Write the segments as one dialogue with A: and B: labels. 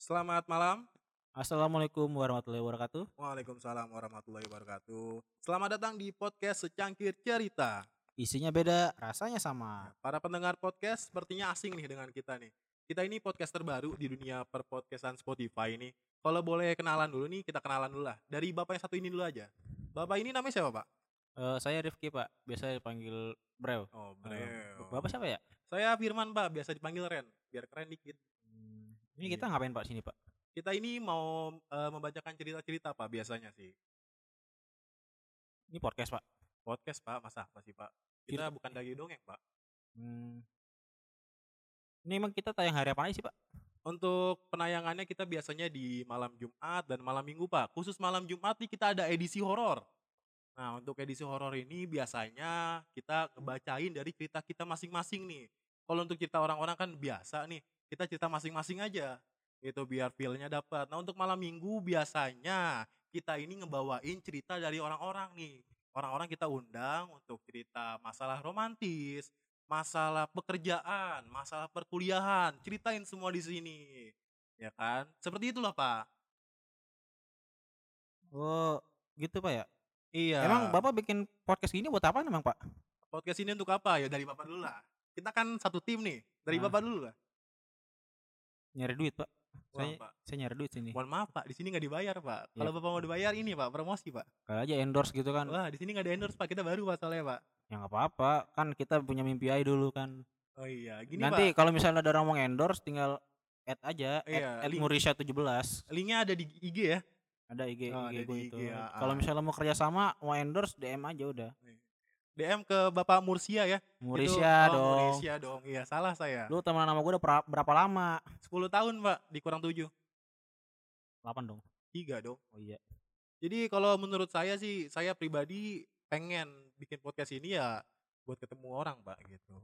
A: Selamat malam.
B: Assalamualaikum warahmatullahi wabarakatuh.
A: Waalaikumsalam warahmatullahi wabarakatuh. Selamat datang di podcast Secangkir Cerita.
B: Isinya beda, rasanya
A: Nah,
B: sama.
A: Para pendengar podcast sepertinya asing nih dengan kita nih. Kita ini podcast terbaru di dunia perpodcastan Spotify ini. Kalau boleh kenalan dulu nih, kita kenalan dulu lah. Dari bapak yang satu ini dulu aja. Bapak ini namanya siapa, Pak?
B: Eh, saya Rifki Pak, biasa dipanggil Brew.
A: Oh,
B: Eh,
A: Breo.
B: Bapak siapa ya?
A: Saya Firman, Pak. Biasa dipanggil Ren. Biar keren dikit.
B: Ini
A: Iya.
B: kita ngapain Pak sini Pak?
A: Kita ini mau eh, membacakan cerita-cerita, Pak, biasanya sih.
B: Ini podcast Pak.
A: Podcast, Pak. Masa apa sih, Pak? Kita
B: Cerita-
A: bukan dari dongeng, Pak.
B: Hmm. Ini emang kita tayang hari apa aja sih Pak?
A: Untuk penayangannya kita biasanya di malam Jumat dan malam Minggu, Pak. Khusus malam Jumat nih kita ada edisi horor. Nah, untuk edisi horor ini biasanya kita bacain dari cerita kita masing-masing nih. Kalau untuk cerita orang-orang kan biasa nih, kita cerita masing-masing aja. Itu biar feel-nya dapat. Nah, untuk malam Minggu biasanya kita ini ngebawain cerita dari orang-orang nih. Orang-orang kita undang untuk cerita masalah romantis, masalah pekerjaan, masalah perkuliahan, ceritain semua di sini. Ya kan? Seperti itulah, Pak.
B: Oh, gitu Pak ya.
A: Iya.
B: Emang Bapak bikin podcast gini buat apa emang Pak?
A: podcast ini untuk apa? Ya dari Bapak dulu lah. Kita kan satu tim nih. Dari
B: Ah.
A: Bapak dulu lah.
B: Nyari duit Pak.
A: Wah,
B: Saya,
A: Pak.
B: saya nyari duit sini.
A: Mohon maaf, Pak. Di sini nggak dibayar, Pak. Kalau Bapak mau dibayar ini, Pak, promosi, Pak.
B: Kalau aja endorse gitu kan.
A: Wah, di sini nggak ada endorse, Pak. Kita baru masalahnya, Pak.
B: Ya nggak apa-apa, kan kita punya mimpi aja dulu kan.
A: Oh iya, gini,
B: Nanti
A: Pak.
B: kalau misalnya ada orang mau endorse tinggal add aja, add,
A: Iya,
B: add
A: link.
B: Murisha 17.
A: Linknya ada di IG ya.
B: ada IG,
A: Oh,
B: IG
A: ada
B: gue
A: di
B: itu.
A: IG, ya,
B: Kalau
A: ah.
B: misalnya mau kerjasama, mau endorse DM aja udah.
A: DM ke Bapak Mursia ya. Itu- oh,
B: Murisya dong.
A: Mursia dong. Iya, salah saya.
B: Lu teman nama gue udah pra- berapa lama?
A: 10 tahun, Pak. Dikurang 7.
B: 8 dong.
A: 3 dong.
B: Oh iya.
A: Jadi kalau menurut saya sih, saya pribadi pengen bikin podcast ini ya buat ketemu orang, Pak, gitu.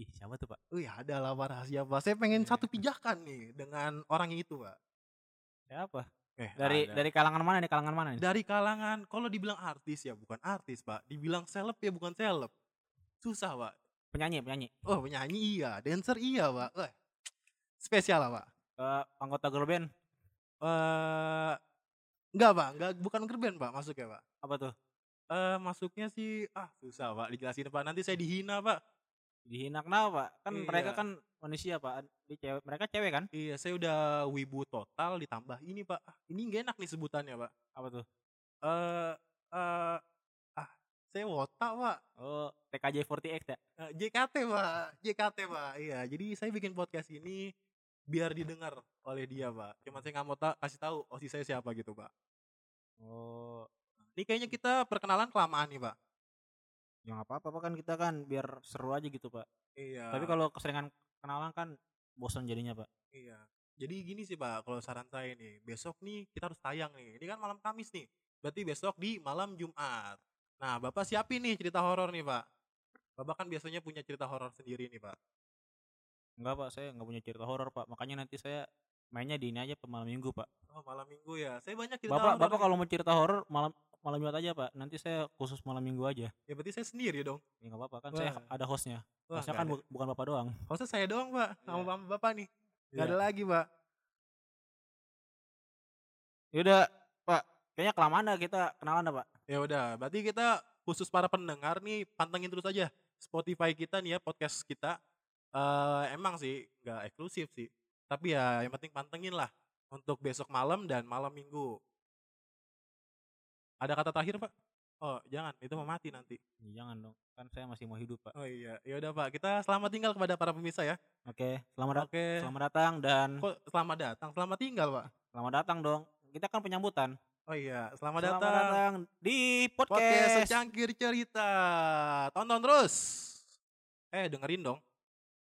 B: Ih, siapa tuh, Pak?
A: Wih, ada lah Pak, rahasia, Pak. Saya pengen
B: Iya.
A: satu pijakan nih dengan orang itu, Pak.
B: Siapa?
A: Eh,
B: Dari
A: ada.
B: dari kalangan mana nih? Kalangan mana nih?
A: Dari kalangan kalau dibilang artis ya bukan artis, Pak. Dibilang seleb ya bukan seleb. Susah, Pak.
B: Penyanyi, penyanyi.
A: Oh, penyanyi iya, dancer iya, Pak. Eh, spesial lah, Pak.
B: Eh, anggota girl band
A: Eh, enggak, Pak. Enggak bukan gerben, Pak, masuknya, Pak.
B: apa tuh?
A: Eh, masuknya sih ah susah, Pak. Dijelasin, Pak. Nanti saya dihina, Pak.
B: Dihina kenapa, Pak? Kan mereka
A: Iya.
B: kan manusia, Pak. Dia cewek, mereka cewek kan?
A: Iya, saya udah wibu total ditambah ini pak. Ah, ini gak enak nih sebutannya pak.
B: Apa tuh?
A: Eh, eh, ah, saya wotak pak.
B: Oh, TKJ48 ya?
A: Eh, JKT pak, JKT pak. Iya, jadi saya bikin podcast ini biar didengar oleh dia pak. Cuman saya nggak mau ta- kasih tahu osi saya siapa gitu pak.
B: Oh,
A: Ini kayaknya kita perkenalan kelamaan nih pak.
B: ya nggak apa-apa Pak. kan kita kan biar seru aja gitu, Pak.
A: Iya.
B: Tapi kalau keseringan kenalan kan bosan jadinya, Pak.
A: Iya. Jadi gini sih Pak, kalau saran saya nih, besok nih kita harus tayang nih. Ini kan malam Kamis nih. Berarti besok di malam Jumat. Nah, Bapak siapin nih cerita horor nih, Pak. Bapak kan biasanya punya cerita horor sendiri nih, Pak.
B: Enggak pak, saya nggak punya cerita horor pak. Makanya nanti saya mainnya di ini aja Pak, malam minggu pak.
A: Oh, malam Minggu ya. Saya banyak cerita
B: Bapak,
A: horor
B: bapak
A: nih.
B: kalau mau cerita horor malam malam jumat aja pak. Nanti saya khusus malam minggu aja.
A: Ya berarti saya sendiri dong.
B: Ya nggak apa-apa kan saya
A: Wah.
B: ada hostnya.
A: Wah,
B: Hostnya
A: nggak
B: kan
A: ada.
B: bu- bukan bapak doang.
A: Hostnya saya doang, Pak. Sama
B: Iya.
A: Bapak, Bapak nih. Gak ada
B: Iya.
A: lagi, Pak.
B: Yaudah pak, kayaknya kelamaan dah kita kenalan dah pak.
A: Ya udah, berarti kita khusus para pendengar nih pantengin terus aja Spotify kita nih ya podcast kita. Eh emang sih nggak eksklusif sih. Tapi ya yang penting pantengin lah untuk besok malam dan malam Minggu. Ada kata terakhir, Pak? Oh, jangan, itu mau mati nanti.
B: Ih, Jangan dong, kan saya masih mau hidup pak.
A: Oh iya, ya udah Pak, kita selamat tinggal kepada para pemirsa ya.
B: Oke, selamat dat-
A: Oke.
B: selamat datang dan
A: Kok selamat datang, selamat tinggal, Pak.
B: selamat datang dong. Kita kan penyambutan.
A: Oh iya, selamat, datang.
B: di
A: Podcast
B: podcast.
A: Secangkir Cerita. Tonton terus. Eh, dengerin dong.